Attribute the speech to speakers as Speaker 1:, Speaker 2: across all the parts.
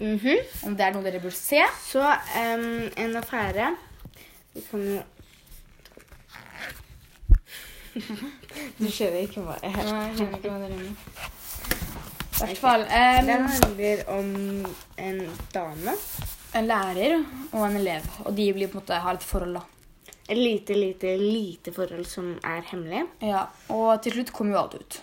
Speaker 1: mhm.
Speaker 2: Om det er noe dere burde se.
Speaker 1: Så em, en affære Vi kan jo Du skjønner ikke hva jeg
Speaker 2: I hvert fall eh,
Speaker 1: Den handler om en dame.
Speaker 2: en lærer og en elev. Og de blir på en måte, har et forhold, da.
Speaker 1: Et lite, lite, lite forhold som er hemmelig.
Speaker 2: Ja, Og til slutt kommer jo alt ut.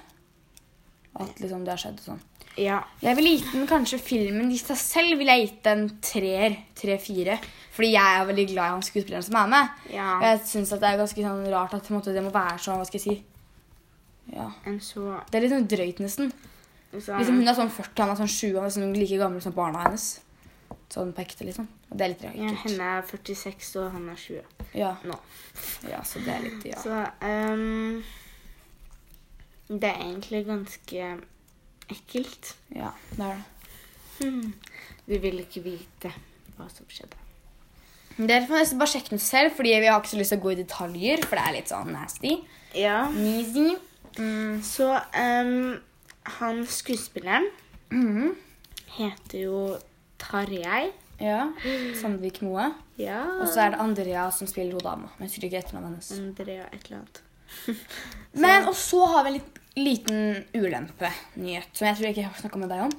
Speaker 2: At liksom det har skjedd og sånn.
Speaker 1: Ja.
Speaker 2: Jeg ville gitt den kanskje filmen i seg selv ville jeg gitt den treer. Tre-fire. Fordi jeg er veldig glad i han skuespilleren som er med. Og
Speaker 1: ja.
Speaker 2: Jeg synes at det er ganske sånn rart at på en måte, det må være sånn. Hva skal jeg si? Ja.
Speaker 1: En så,
Speaker 2: Det er litt sånn drøyt, nesten.
Speaker 1: så
Speaker 2: Liksom, hun er sånn 40, han er sånn 20, han er sånn like gammel som barna hennes. Sånn på ekte, liksom. Og det er litt
Speaker 1: ja,
Speaker 2: drøyt.
Speaker 1: Henne er 46, og han er 20
Speaker 2: Ja.
Speaker 1: nå.
Speaker 2: ja, så det er litt ja.
Speaker 1: Så ehm, Det er egentlig ganske ekkelt.
Speaker 2: ja. Det er det.
Speaker 1: Hmm. Vi vil ikke vite hva som skjedde.
Speaker 2: Men Dere får nesten bare sjekke den selv, fordi vi har ikke så lyst til å gå i detaljer. For det er litt sånn nasty.
Speaker 1: Ja.
Speaker 2: Neasy. Mm.
Speaker 1: Så ehm, han skuespilleren
Speaker 2: Mhm.
Speaker 1: heter jo Tarjei.
Speaker 2: Ja. Sandvik Moe.
Speaker 1: Ja.
Speaker 2: Og så er det Andrea som spiller hun dama. Men jeg husker ikke etternavnet hennes.
Speaker 1: Andrea et eller annet.
Speaker 2: Men, Og Mm. så har vi en litt, liten ulempenyhet som jeg tror jeg ikke har snakka med deg om.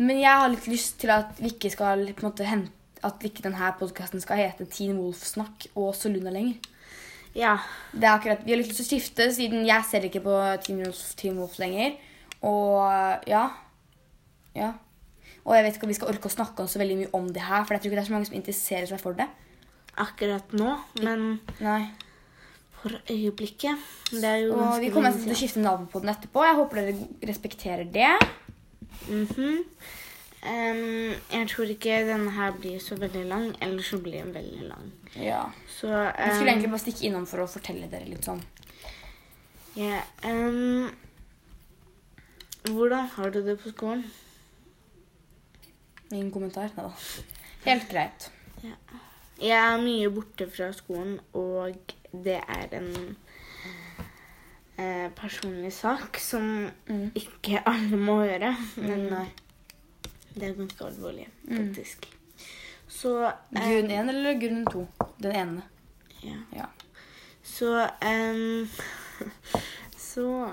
Speaker 2: Men jeg har litt lyst til at vi ikke skal på en måte hente at ikke denne podkasten skal hete Teen Wolf-snakk og Soluna lenger.
Speaker 1: Ja.
Speaker 2: Det er akkurat, Vi har litt lyst til å skifte, siden jeg ser ikke på Teen Wolf, Teen Wolf lenger. Og ja. Ja. Og jeg vet ikke om vi skal orke å snakke om så veldig mye om det her, for jeg tror ikke det er så mange som interesserer seg for det.
Speaker 1: akkurat nå, men
Speaker 2: Nei.
Speaker 1: for øyeblikket. Det er jo
Speaker 2: Og
Speaker 1: ganske
Speaker 2: vi kommer
Speaker 1: lenge
Speaker 2: til å
Speaker 1: siden.
Speaker 2: skifte navn på den etterpå. Jeg håper dere respekterer det.
Speaker 1: Mhm. Em, jeg tror ikke denne her blir så veldig lang, eller så blir den veldig lang.
Speaker 2: Ja. Um,
Speaker 1: Så
Speaker 2: Jeg
Speaker 1: em,
Speaker 2: skulle egentlig bare stikke innom for å fortelle dere litt sånn.
Speaker 1: ja, em, Hvordan har du det på skolen?
Speaker 2: Ingen kommentar? Nei da. Helt greit.
Speaker 1: Jeg er mye borte fra skolen, og det er en eh, personlig sak som
Speaker 2: Mm.
Speaker 1: ikke alle må høre. Men
Speaker 2: Nei.
Speaker 1: det er ganske alvorlig,
Speaker 2: Mm.
Speaker 1: faktisk. Så em,
Speaker 2: Grunn én eller grunn to? Den ene.
Speaker 1: ja.
Speaker 2: Ja.
Speaker 1: Så ehm, Så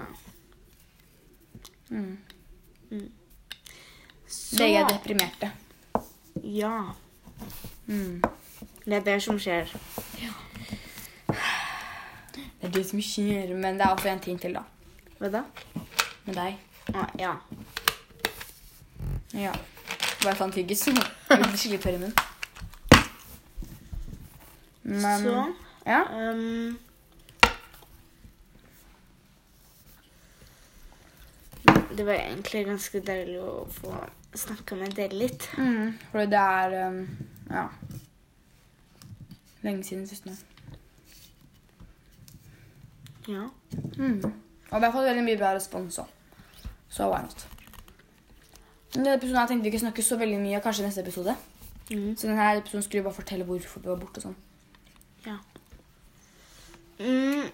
Speaker 2: Mm.
Speaker 1: Så
Speaker 2: Begge er deprimerte.
Speaker 1: Ja.
Speaker 2: Mm.
Speaker 1: Det er det som skjer.
Speaker 2: Det er det som skjer, men det er også en ting til, da.
Speaker 1: Hva da?
Speaker 2: Med deg.
Speaker 1: Ah, ja.
Speaker 2: Ja. Bare sånn tyggis. Jeg blir Skikkelig tørr i munnen. Men
Speaker 1: Så
Speaker 2: Ja.
Speaker 1: ehm, Det var egentlig ganske deilig å få snakka med dere litt.
Speaker 2: Mm, fordi det er um, ja. lenge siden sist nå.
Speaker 1: Ja.
Speaker 2: Mm. Og vi har fått veldig mye bra respons òg. Så why not? Men denne episoden her tenkte vi ikke snakke så veldig mye, kanskje neste episode.
Speaker 1: Mm.
Speaker 2: Så denne her episoden skulle vi bare fortelle hvorfor vi var borte og sånn.
Speaker 1: ja. Mm,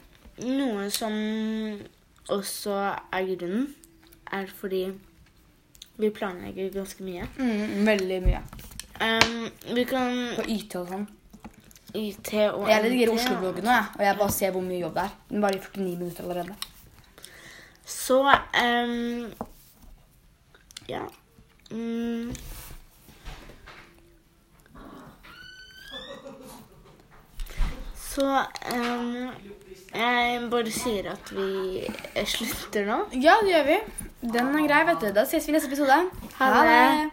Speaker 1: noe som også er grunnen, er fordi vi planlegger ganske mye.
Speaker 2: Mm, veldig mye.
Speaker 1: Ehm, vi kan
Speaker 2: På YT og sånn.
Speaker 1: IT og
Speaker 2: Jeg redigerer
Speaker 1: NT,
Speaker 2: Oslo-bloggen nå, jeg. Og jeg bare ser hvor mye jobb det er. Den varer i 49 minutter allerede.
Speaker 1: Så ehm, Ja. Mm. Så ehm, jeg bare sier at vi slutter nå.
Speaker 2: Ja, det gjør vi. Den er grei, vet du. Da ses vi i neste episode.
Speaker 1: Ha det.